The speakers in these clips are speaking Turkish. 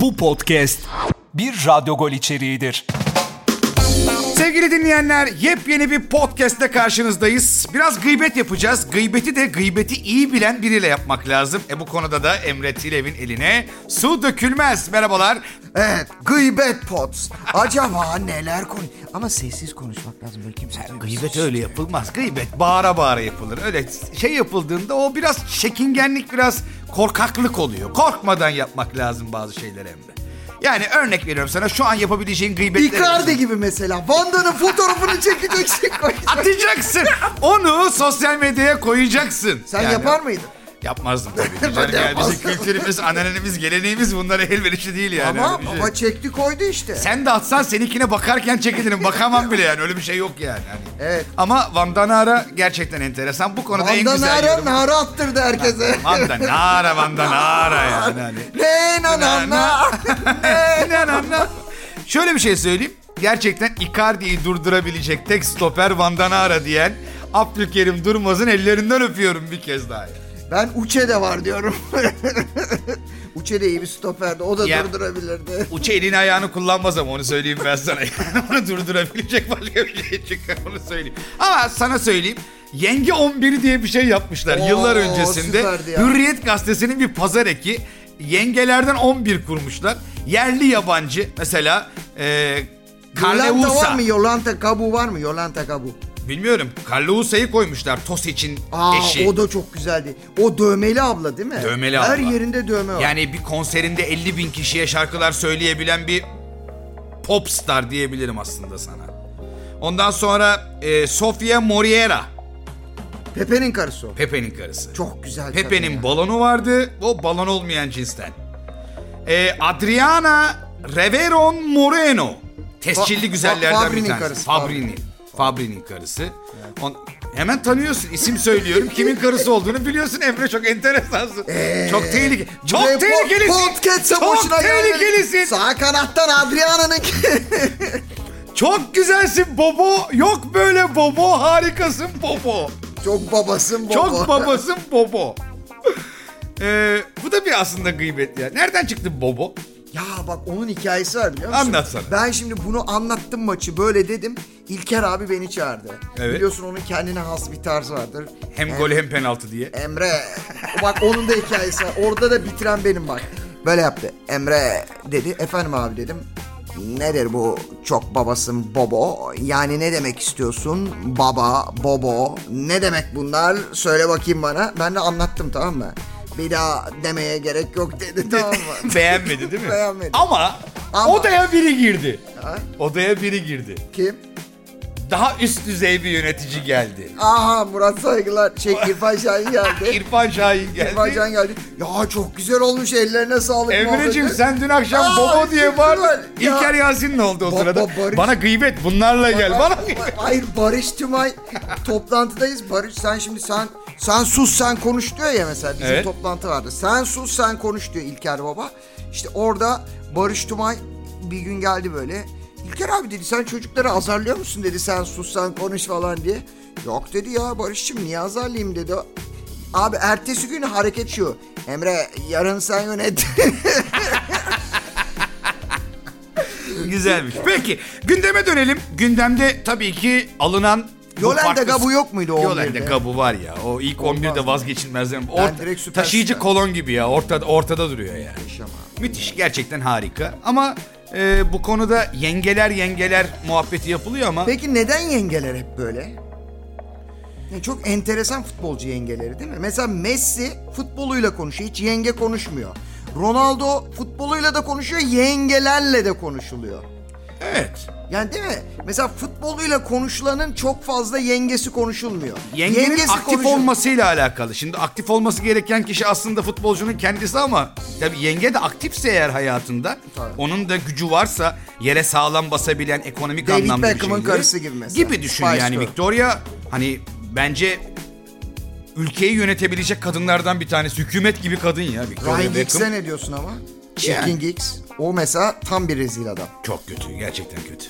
Bu podcast bir radyo gol içeriğidir. Sevgili dinleyenler, yepyeni bir podcast'te karşınızdayız. Biraz gıybet yapacağız. Gıybeti de gıybeti iyi bilen biriyle yapmak lazım. E bu konuda da Emre Tilev'in eline su dökülmez. Merhabalar. Evet, gıybet pots. Acaba neler konu... Ama sessiz konuşmak lazım böyle kimse. Gıybet öyle yapılmaz. Gıybet bağıra bağıra yapılır. Öyle şey yapıldığında o biraz çekingenlik, biraz korkaklık oluyor. Korkmadan yapmak lazım bazı şeyleri Emre. Yani örnek veriyorum sana şu an yapabileceğin gıybetleri... Icardi gibi mesela. Vanda'nın fotoğrafını çekeceksin koyacaksın. Atacaksın. Onu sosyal medyaya koyacaksın. Sen Yani- yapar mıydın? Yapmazdım tabii. ki. Ben de Canım yani bizim yapmazdım. kültürümüz, anneannemiz, geleneğimiz bunlara elverişli değil yani. Ama Öyle bir şey. baba çekti koydu işte. Sen de atsan seninkine bakarken çekilirim. Bakamam bile yani. Öyle bir şey yok yani. Hani. Evet. Ama Van Danara gerçekten enteresan. Bu konuda en Vanda güzel nara yorum. nara attırdı herkese. Van Danara, Van Danara yani. Hani. ne na na na. Na, na, na. Şöyle bir şey söyleyeyim. Gerçekten Icardi'yi durdurabilecek tek stoper Van Danara diyen Abdülkerim Durmaz'ın ellerinden öpüyorum bir kez daha. Ben Uçe'de var diyorum. Uçe'de iyi bir stoperdi. O da Ya. durdurabilirdi. Uça elini ayağını kullanmaz ama onu söyleyeyim ben sana. Yani onu durdurabilecek başka bir şey çıkar onu söyleyeyim. Ama sana söyleyeyim. Yenge 11 diye bir şey yapmışlar Oo, yıllar öncesinde. süperdi ya. Hürriyet gazetesinin bir pazar eki. Yengelerden 11 kurmuşlar. Yerli yabancı mesela e, Yolanta var Carleusa. mı? Yolanta Kabu var mı? Yolanta Kabu. Bilmiyorum. Carleusa'yı koymuşlar Tosic'in Aa eşi. o da çok güzeldi. O dövmeli abla değil mi? Dövmeli Her abla. yerinde dövme var. Yani bir konserinde 50 bin kişiye şarkılar söyleyebilen bir pop star diyebilirim aslında sana. Ondan sonra e, Sofia Moriera, Pepe'nin karısı o. Pepe'nin karısı. Çok güzel. kadın Pepe'nin ya. balonu vardı, o balon olmayan cinsten. E, Adriana Reveron Moreno, tescilli Fa- güzellerden bir Fabri'nin tanesi. karısı, Fabrini. Fabri'nin karısı. On, hemen tanıyorsun, isim söylüyorum. Kimin karısı olduğunu biliyorsun Emre, çok enteresansın. çok tehlikeli. Çok Ve Ee, po- tehlikelisin. Podcast çok savaşına gelmedik. tehlikelisin. Sağ kanattan Adriana'nın Çok güzelsin Bobo. Yok böyle Bobo. Harikasın Bobo. çok babasın baba. Çok babasın Bobo. Ee, bu da bir aslında gıybet ya. Nereden çıktı Bobo? Ya bak onun hikayesi var biliyor musun? Anlatsana. Ben şimdi bunu anlattım maçı böyle dedim. İlker abi beni çağırdı. Evet. Biliyorsun onun kendine has bir tarzı vardır. Hem gol hem penaltı diye. Emre. Bak onun da hikayesi var. Orada da bitiren benim bak. Böyle yaptı. Emre dedi. Efendim abi dedim. Nedir bu çok babasın bobo? Yani ne demek istiyorsun? Baba, bobo. Ne demek bunlar? Söyle bakayım bana. Ben de anlattım tamam mı? Bir daha demeye gerek yok dedi tamam mı? Beğenmedi değil mi? Beğenmedi. Ama, Ama. odaya biri girdi. Ha? Odaya biri girdi. Kim? Daha üst düzey bir yönetici geldi. Aha Murat Saygılar. Şey İrfan Şahin geldi. İrfan Şahin geldi. İrfan Şahin geldi. Ya çok güzel olmuş ellerine sağlık. Emre'cim muhabbeti. sen dün akşam Aa, Bobo diye bağırdın. süper. Ya. İlker Yasin ne oldu o Ba- sırada? ba- Barış- Bana gıybet bunlarla gel. Bana gıybet. Hayır Barış Tümay toplantıdayız. Barış sen şimdi sen sen sus sen konuş diyor ya mesela bizim Evet. toplantı vardı. Sen sus sen konuş diyor İlker Baba. İşte orada Barış Tümay bir gün geldi böyle. İlker abi dedi sen çocukları azarlıyor musun dedi sen sus sen konuş falan diye. Yok dedi ya Barış'cığım niye azarlayayım dedi. Abi ertesi gün hareket şu. Emre yarın sen yönet. Güzelmiş. Peki gündeme dönelim. Gündemde tabii ki alınan bu Yolanda farklı- Gabu yok muydu o Yolanda 11'de? Gabu var ya. O ilk 11'de mı? vazgeçilmezlerim. direkt süperstar. taşıyıcı kolon gibi ya. Ortada ortada duruyor yani. Yaşama. Müthiş gerçekten harika. Ama e, bu konuda yengeler yengeler muhabbeti yapılıyor ama Peki neden yengeler hep böyle? Ya çok enteresan futbolcu yengeleri değil mi? Mesela Messi futboluyla konuşuyor, hiç yenge konuşmuyor. Ronaldo futboluyla da konuşuyor, yengelerle de konuşuluyor. evet. Yani değil mi? Mesela futboluyla konuşulanın çok fazla yengesi konuşulmuyor. Yengenin aktif konuşul- olmasıyla alakalı. Şimdi aktif olması gereken kişi aslında futbolcunun kendisi ama tabii yenge de aktifse eğer hayatında Tabii. onun da gücü varsa yere sağlam basabilen ekonomik David anlamda bir Beckham'ın şeyleri- karısı gibi mesela. Gibi düşün Spice yani Girl. Victoria hani bence ülkeyi yönetebilecek kadınlardan bir tanesi. Hükümet gibi kadın ya Victoria Ryan Giggs'e Beckham. ne diyorsun ama? Yani. Çirkin Giggs. O mesela tam bir rezil adam. Çok kötü gerçekten kötü.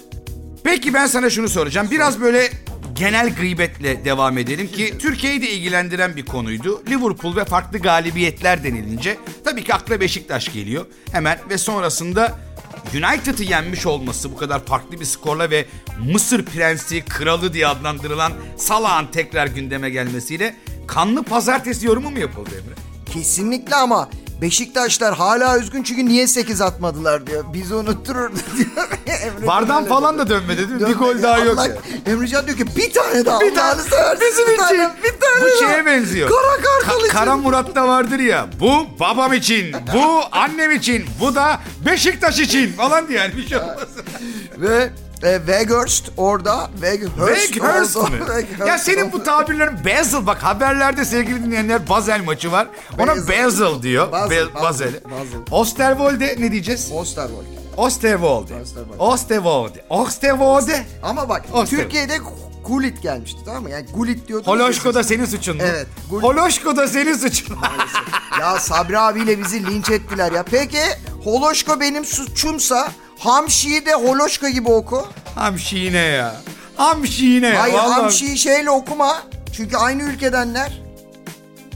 Peki ben sana şunu soracağım. Biraz böyle genel gıybetle devam edelim ki Türkiye'yi de ilgilendiren bir konuydu. Liverpool ve farklı galibiyetler denilince tabii ki akla Beşiktaş geliyor hemen ve sonrasında United'ı yenmiş olması bu kadar farklı bir skorla ve Mısır prensi, kralı diye adlandırılan Salah'ın tekrar gündeme gelmesiyle kanlı pazartesi yorumu mu yapıldı Emre? Kesinlikle ama Beşiktaşlar hala üzgün çünkü niye 8 atmadılar diyor. Bizi unuttururdu diyor. Emre Vardan öyle falan dedi. da dönmedi değil mi? Dönmedi. Bir gol daha yok. Allah- ya. Emrecan diyor ki bir tane daha. Bir tane Allah'ını seversen bizim bir için. tane- Bir tane bu daha. şeye benziyor. Kara Kartal Ka- için. Kara Murat'ta vardır ya. Bu babam için, bu annem için, bu da Beşiktaş için falan diye yani bir şey olmaz. Ve e, Weghurst orada. Weghurst, Weghurst orada. mı? Weghurst Ya senin bu orada. tabirlerin Basel bak haberlerde sevgili dinleyenler Basel maçı var. Ona Basel. Basel diyor. Basel, Be- Basel, Basel. Basel. Osterwolde ne diyeceğiz? Osterwolde. Osterwolde. Osterwolde. Osterwolde. Osterwolde. Ama bak Oster- Türkiye'de Gullit gelmişti tamam mı? Yani Gullit diyordunuz. Holoşko da senin suçun mu? Evet. Gol- Holoşko da senin suçun. Ya Sabri abiyle bizi linç ettiler ya. Peki Holoşko benim suçumsa Hamşi'yi de Holoşko gibi oku. Hamşine ya. Hamşine ya. Hayır vallahi. Hamşi'yi şeyle okuma. Çünkü aynı ülkedenler.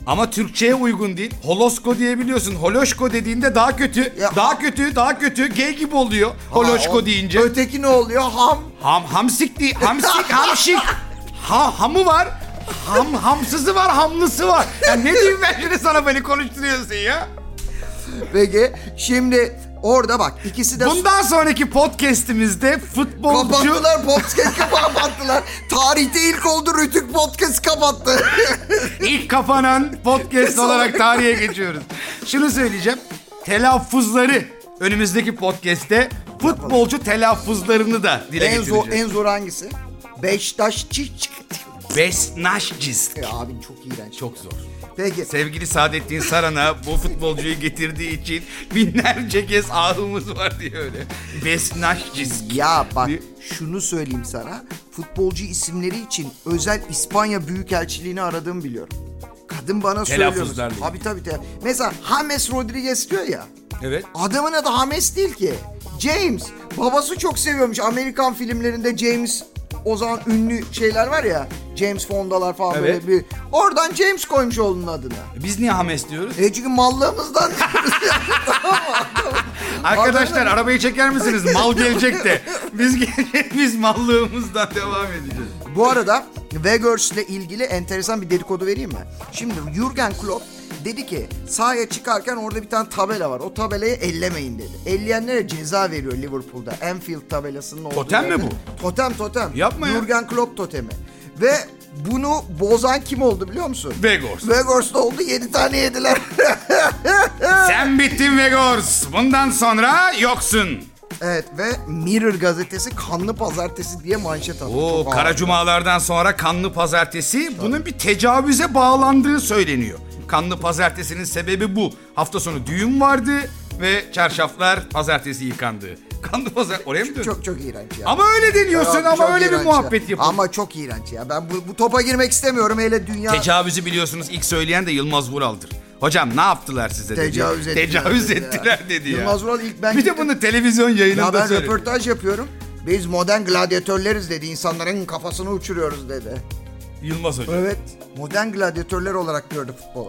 Ama Türkçe'ye uygun değil. Holosko diyebiliyorsun. Holoşko dediğinde daha kötü. Ya- daha kötü, daha kötü. Gay gibi oluyor. Holoşko Ha, o- deyince. Öteki ne oluyor? Ham. Ham, hamsik değil. Hamsik, hamşik. Ha, hamı var. Ham, hamsızı var, hamlısı var. Ya ne diyeyim ben şimdi sana beni konuşturuyorsun ya. Peki şimdi orada bak ikisi de Bundan sonraki podcast'imizde futbolcu... kapattılar podcast'ı kapattılar. Tarihte ilk oldu Rütük podcast kapattı. İlk kapanan podcast olarak tarihe geçiyoruz. Şunu söyleyeceğim. Telaffuzları önümüzdeki podcast'te futbolcu telaffuzlarını da dile en getireceğiz. zor en zor hangisi? Beştaş çiçek. Besnaşciz. Ya abin çok iğrenç. Çok zor. Peki. Sevgili Saadettin Saran'a bu futbolcuyu getirdiği için binlerce kez ahımız var diye öyle. Besnaşciz. Ya bak Ne? şunu söyleyeyim sana. Futbolcu isimleri için özel İspanya Büyükelçiliğini aradığımı biliyorum. Kadın bana söylüyor. Telaffuzlarla ilgili. Abi tabii tabii. Mesela James Rodriguez diyor ya. Evet. Adamın adı James değil ki. James. Babası çok seviyormuş. Amerikan filmlerinde James o zaman ünlü şeyler var ya. James Fondalar falan Evet. böyle bir. Oradan James koymuş oğlunun adını. Biz niye Hames diyoruz? E çünkü mallığımızdan Arkadaşlar arabayı çeker misiniz? Mal gelecek de. Biz ge- biz mallığımızdan devam edeceğiz. Bu arada Weghorst'le ilgili enteresan bir dedikodu vereyim mi? Şimdi Jurgen Klopp dedi ki sahaya çıkarken orada bir tane tabela var. O tabelayı ellemeyin dedi. Elleyenlere ceza veriyor Liverpool'da. Anfield tabelasının olduğu Totem mi yerde. bu? Totem totem. Yapma ya. Jurgen Klopp totemi. Ve bunu bozan kim oldu biliyor musun? Weghorst. Weghorst oldu 7 tane yediler. Sen bittin Vegors. Bundan sonra yoksun. evet ve Mirror gazetesi kanlı pazartesi diye manşet attı. Oo, Çok ağır. kara cumalardan sonra kanlı pazartesi bunun bir tecavüze bağlandığı söyleniyor. Kanlı pazartesinin sebebi bu. Hafta sonu düğün vardı ve çarşaflar pazartesi yıkandı. Kanlı pazar oraya mı döndün? Çok çok iğrenç ya. Ama öyle deniyorsun Ya, ama çok öyle bir iğrenç muhabbet ya. yapıyorsun. Ama çok iğrenç ya. Ben bu, bu topa girmek istemiyorum. Hele dünya Tecavüzü biliyorsunuz ilk söyleyen de Yılmaz Vural'dır. Hocam ne yaptılar size dedi. tecavüz ettiler. Tecavüz dedi ya. ettiler dedi ya. Yılmaz Vural ilk ben bir de gittim. bunu televizyon yayınında Ya ben söyledi. röportaj yapıyorum. Biz modern gladyatörleriz dedi. İnsanların kafasını uçuruyoruz dedi. Yılmaz Hoca. Evet. Modern gladyatörler olarak gördü futbolu.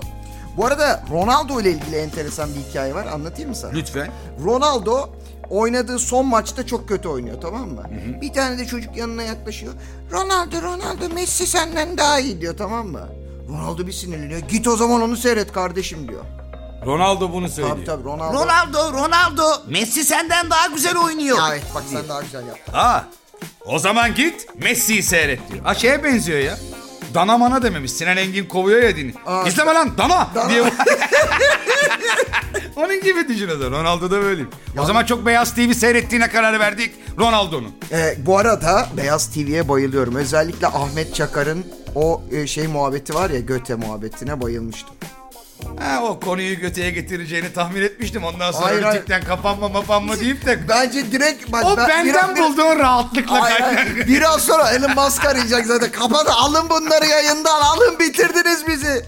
Bu arada Ronaldo ile ilgili enteresan bir hikaye var. Anlatayım mı sana? Lütfen. Ronaldo oynadığı son maçta çok kötü oynuyor tamam mı? Bir tane de çocuk yanına yaklaşıyor. Ronaldo Ronaldo Messi senden daha iyi diyor tamam mı? Ronaldo bir sinirleniyor. Git o zaman onu seyret kardeşim diyor. Ronaldo bunu söylüyor. Tabii tabii Ronaldo. Ronaldo, Ronaldo. Messi senden daha güzel oynuyor. Ya Evet bak sen daha güzel yaptın. Ha. O zaman git Messi'yi seyret diyor. Ha şeye benziyor ya. Dana mana dememiş. Sinan Engin kovuyor ya dini. Aa. İzleme lan dana, Dana. diye. Onun gibi düşün o zaman. Ronaldo da böyle. O zaman çok Beyaz TV seyrettiğine karar verdik. Ronaldo'nun. Ee, bu arada Beyaz TV'ye bayılıyorum. Özellikle Ahmet Çakar'ın o e, şey muhabbeti var ya Göte muhabbetine bayılmıştım. Ha, o konuyu göteye getireceğini tahmin etmiştim. Ondan sonra Hayır, hayır. Rütük'ten kapanma mapanma deyip de... Bence direkt bak o ben- benden biraz- bir- bulduğun rahatlıkla Hayır, hayır. kaynaklı. Biraz sonra Elon Musk arayacak zaten. Kapat alın bunları yayından alın bitirdiniz bizi.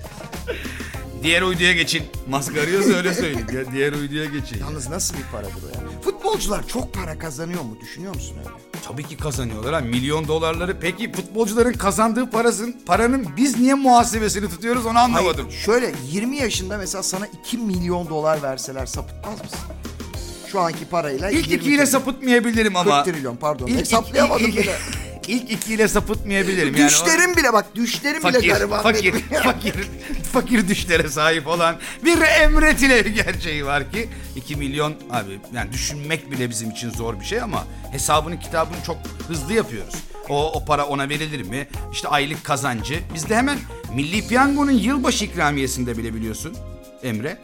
Diğer uyduya geçin. Maske arıyorsa öyle söyleyin. Ya diğer uyduya geçin. Yalnız nasıl bir para bu ya? Futbolcular çok para kazanıyor mu? Düşünüyor musun öyle? Tabii ki kazanıyorlar ha milyon dolarları. Peki futbolcuların kazandığı parasın, paranın biz niye muhasebesini tutuyoruz onu anlamadım. Hayır, şöyle 20 yaşında mesela sana 2 milyon dolar verseler sapıtmaz mısın? Şu anki parayla. İlk 20 ikiyle trilyon. sapıtmayabilirim ama. 40 trilyon, pardon. İlk, Hesaplayamadım ilk, bile. ilk ikiyle sapıtmayabilirim. Yani o- Düşlerim bile bak düşlerim fakir, bile gariban. fakir, benim. fakir, fakir düşlere sahip olan bir Emre Tilevi gerçeği var ki 2 milyon abi yani düşünmek bile bizim için zor bir şey ama hesabını kitabını çok hızlı yapıyoruz. O, o para ona verilir mi? İşte aylık kazancı. Bizde hemen Milli Piyango'nun yılbaşı ikramiyesinde bile biliyorsun Emre.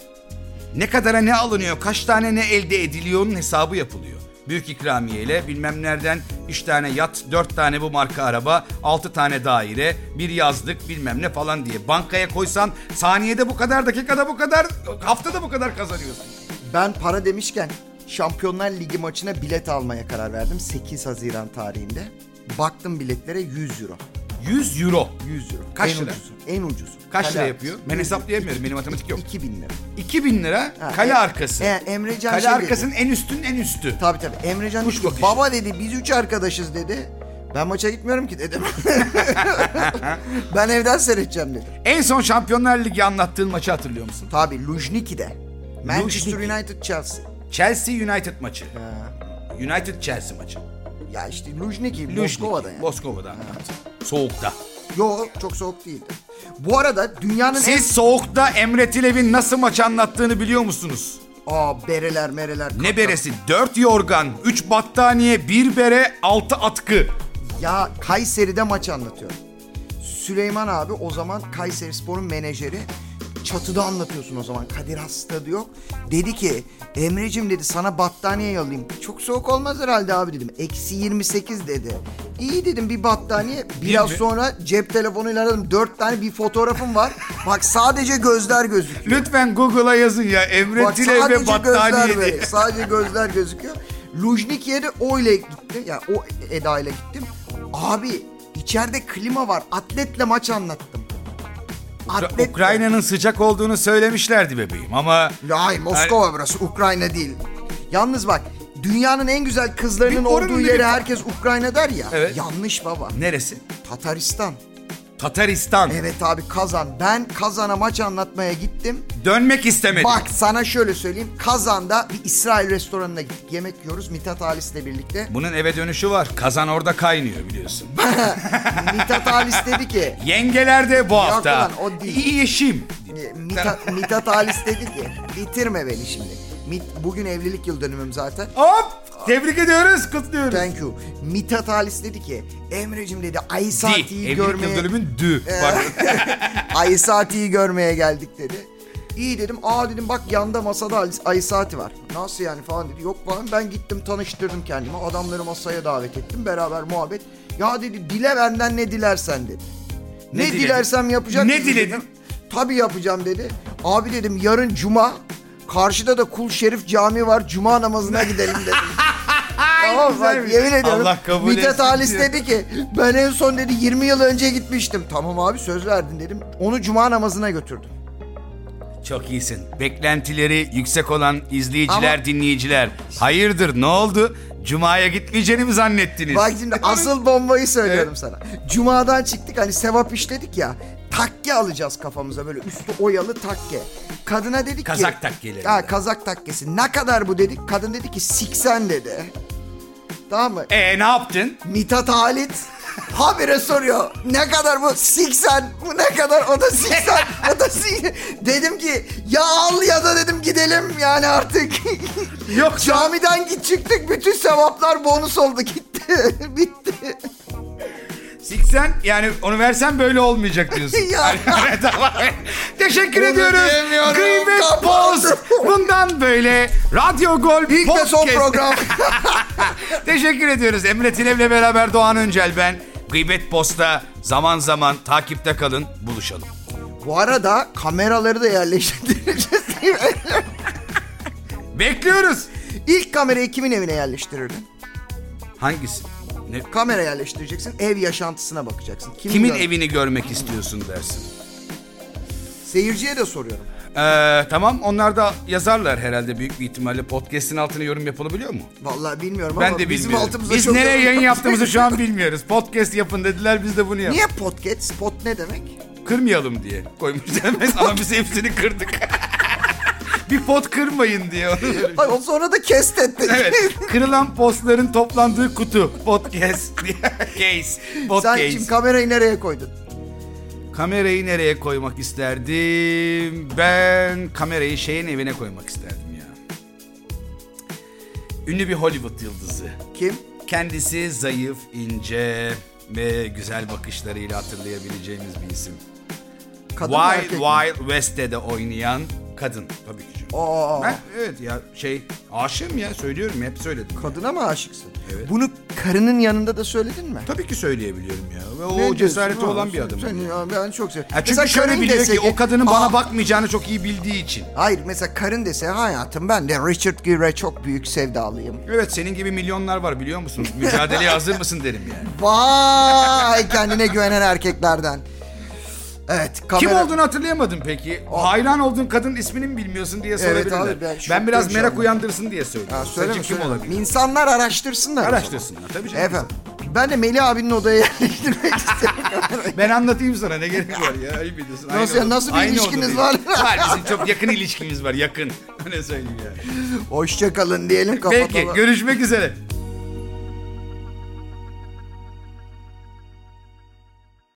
Ne kadara ne alınıyor, kaç tane ne elde ediliyor onun hesabı yapılıyor. Büyük ikramiye ile bilmem nereden 3 tane yat, 4 tane bu marka araba, 6 tane daire, bir yazlık bilmem ne falan diye. Bankaya koysan saniyede bu kadar, dakikada bu kadar, haftada bu kadar kazanıyorsun. Ben para demişken Şampiyonlar Ligi maçına bilet almaya karar verdim 8 Haziran tarihinde. Baktım biletlere 100 euro. 100 euro. 100 euro. Kaç en lira? Ucuzu, en ucuzu. Kaç lira Kale yapıyor? arkası. Ben hesaplayamıyorum, benim matematik yok. 2000 lira. 2000 lira Ha, kale e- arkası. e, Emre Can kale şey dedi. arkasının en üstünün en üstü. Tabii tabii. Emrecan Kuş dedi ki, bakışı. baba dedi biz üç arkadaşız dedi. Ben maça gitmiyorum ki dedim. ben evden seyredeceğim dedim. En son Şampiyonlar Ligi anlattığın maçı hatırlıyor musun? Tabii Lujniki'de. Manchester Lujniki. United Chelsea. Chelsea United maçı. United Chelsea maçı. Ya işte Lujniki, Lüjnik, Moskova'da yani. Moskova'da. Soğukta. Yo çok soğuk değildi. Bu arada dünyanın en... Siz soğukta Emre Tilev'in nasıl maç anlattığını biliyor musunuz? Aa bereler mereler. kaptan. Ne beresi? 4 yorgan, 3 battaniye, 1 bere, 6 atkı. Ya Kayseri'de maç anlatıyorum. Süleyman abi o zaman Kayseri Spor'un menajeri. Çatıda anlatıyorsun o zaman. Kadir hasta diyor. Dedi ki Emre'cim dedi sana battaniye yollayayım. Çok soğuk olmaz herhalde abi dedim. Eksi 28 dedi. İyi dedim bir battaniye. Biraz mi? sonra cep telefonuyla aradım. Dört tane bir fotoğrafım var. Bak sadece gözler gözüküyor. Lütfen Google'a yazın ya Emre Bak Tilev ve sadece gözler battaniye diye. böyle. Sadece gözler gözüküyor. Lujniki'ye de o ile gitti. Ya o Eda ile gittim. Abi içeride klima var. Atletle maç anlattım. Atletle. Ukrayna'nın sıcak olduğunu söylemişlerdi bebeğim ama... Hayır Moskova burası. Ukrayna değil. Yalnız bak dünyanın en güzel kızlarının Bir oranın olduğu bir- yere herkes Ukrayna der ya. Evet. Yanlış baba. Neresi? Tataristan. Tataristan. Evet abi Kazan. Ben Kazan'a maç anlatmaya gittim. Dönmek istemedi. Bak sana şöyle söyleyeyim. Kazan'da bir İsrail restoranına gittik. Yemek yiyoruz Mithat Halis'le birlikte. Bunun eve dönüşü var. Kazan orada kaynıyor biliyorsun. Mithat Halis dedi ki... Yengeler de bu hafta. lan, o değil. İyi eşim. e, Mithat, Mithat Halis dedi ki... Bitirme beni şimdi. Mit- bugün evlilik yıl dönümüm zaten. Hop! Tebrik ediyoruz, kutluyoruz. Thank you. Mithat Halis dedi ki... Emre'cim dedi Ayı Di. Saati'yi Evlilik yıl görmeye... Ee, dönümün dü. Bak. Ayı Saati'yi görmeye geldik dedi. İyi dedim. Aa dedim bak yanda masada Halis- Ayı Saati var. Nasıl yani falan dedi. Yok falan ben gittim tanıştırdım kendimi. Adamları masaya davet ettim. Beraber muhabbet. Ya dedi dile benden ne dilersen dedi. Ne, Ne diledin? dilersem yapacak Ne mısın?" diledin? dedim. Tabii yapacağım dedi. Abi dedim yarın cuma karşıda da Kul Şerif Camii var. Cuma namazına gidelim dedim. tamam bak güzelmiş. yemin ediyorum. Allah kabul Mithat etsin Halis diyor. dedi ki ben en son dedi 20 yıl önce gitmiştim. Tamam abi söz verdin dedim. Onu cuma namazına götürdüm. Çok iyisin. Beklentileri yüksek olan izleyiciler, Ama- dinleyiciler. Hayırdır ne oldu? Cuma'ya gitmeyeceğini mi zannettiniz? Bak şimdi asıl bombayı söylüyorum Evet. sana. Cuma'dan çıktık hani sevap işledik ya. Takke alacağız kafamıza böyle üstü oyalı takke. Kadına dedik ki... Kazak takkeleri. Ha kazak takkesi. Ne kadar bu dedik. Kadın dedi ki 80 dedi. Tamam mı? E ne yaptın? Mithat Halit habire soruyor. Ne kadar bu? 80. Bu ne kadar? O da 80. o da 80. Dedim ki ya al ya da dedim gidelim yani artık. Yok canım. Camiden git çıktık. Bütün sevaplar bonus oldu gitti. Bitti. 80 yani onu versen böyle olmayacak diyorsun. Ya. Yani, tamam. Teşekkür Bunu ediyoruz. diyemiyorum. Kıymet Kapat. Boz. Bundan böyle Radyo Gol İlk ve son Podcast. program. Teşekkür ediyoruz. Emre Tilev'le beraber Doğan Öncel ben. Gıybet Post'ta zaman zaman takipte kalın. Buluşalım. bu arada kameraları da yerleştireceğiz. değil mi? Bekliyoruz. İlk kamerayı kimin evine yerleştirirdin? Hangisi? Ne? Kamera yerleştireceksin. Ev yaşantısına bakacaksın. Kimin, Kimin gör- evini görmek istiyorsun dersin. Seyirciye de soruyorum. Ee, tamam onlar da yazarlar herhalde büyük bir ihtimalle. Podcast'in altına yorum yapılabiliyor mu? Vallahi bilmiyorum Ben ama de bizim bilmiyorum. altımıza Biz çok nereye yayın yaptığımızı şu an bilmiyoruz. Podcast yapın dediler biz de bunu yaptık. Niye podcast? Spot ne demek? Kırmayalım diye koymuşlar hemen ama biz hepsini kırdık. bir pot kırmayın diye. onu söylemiş. Ay, o sonra da kest ettik. evet. Kırılan postların toplandığı kutu. Podcast diye. Case. Sen Podcast. şimdi kamerayı nereye koydun? Kamerayı nereye koymak isterdim? Ben kamerayı şeyin evine koymak isterdim ya. Ünlü bir Hollywood yıldızı. Kim? Kendisi zayıf, ince ve güzel bakışlarıyla hatırlayabileceğimiz bir isim. Kadın mı, Wild erkek mi? Wild West'te de oynayan kadın tabii ki. canım. Aa. Ben evet ya şey aşığım ya söylüyorum hep söyledim. ya. Kadına mı aşıksın? Evet. Bunu karının yanında da söyledin mi? Tabii ki söyleyebiliyorum ya. Ve Ne o diyorsun? cesareti Aa, olan bir sen- adam. sen- ya ben çok seviyorum. Ya çünkü Mesela şöyle karın biliyor dese ki o kadının Aa, bana bakmayacağını çok iyi bildiği için. Hayır mesela karın dese hayatım ben de Richard Gere'e çok büyük sevdalıyım. Evet senin gibi milyonlar var biliyor musun? Mücadeleye hazır mısın derim yani. Vay kendine güvenen erkeklerden. Evet kamera... Kim olduğunu hatırlayamadım peki. Hayran olduğun kadın ismini mi bilmiyorsun diye sorabilirler. abi, ben ben, şoktayım biraz şu merak an. uyandırsın diye söylüyorum. Ha, Sence söyleme, kim söyleme. olabilir? İnsanlar araştırsınlar. o zaman. Araştırsınlar tabii canım. Efendim. Ben de Melih abinin odaya yerleştirmek istiyorum. Ben anlatayım sana ne gerek var ya. Ayıp ediyorsun. Aynı Nasıl- odada- nasıl bir aynı ilişkiniz odadayız. var? var bizim çok yakın ilişkimiz var yakın. Öyle söyleyeyim yani. Hoşçakalın diyelim kapatalım. Peki görüşmek üzere.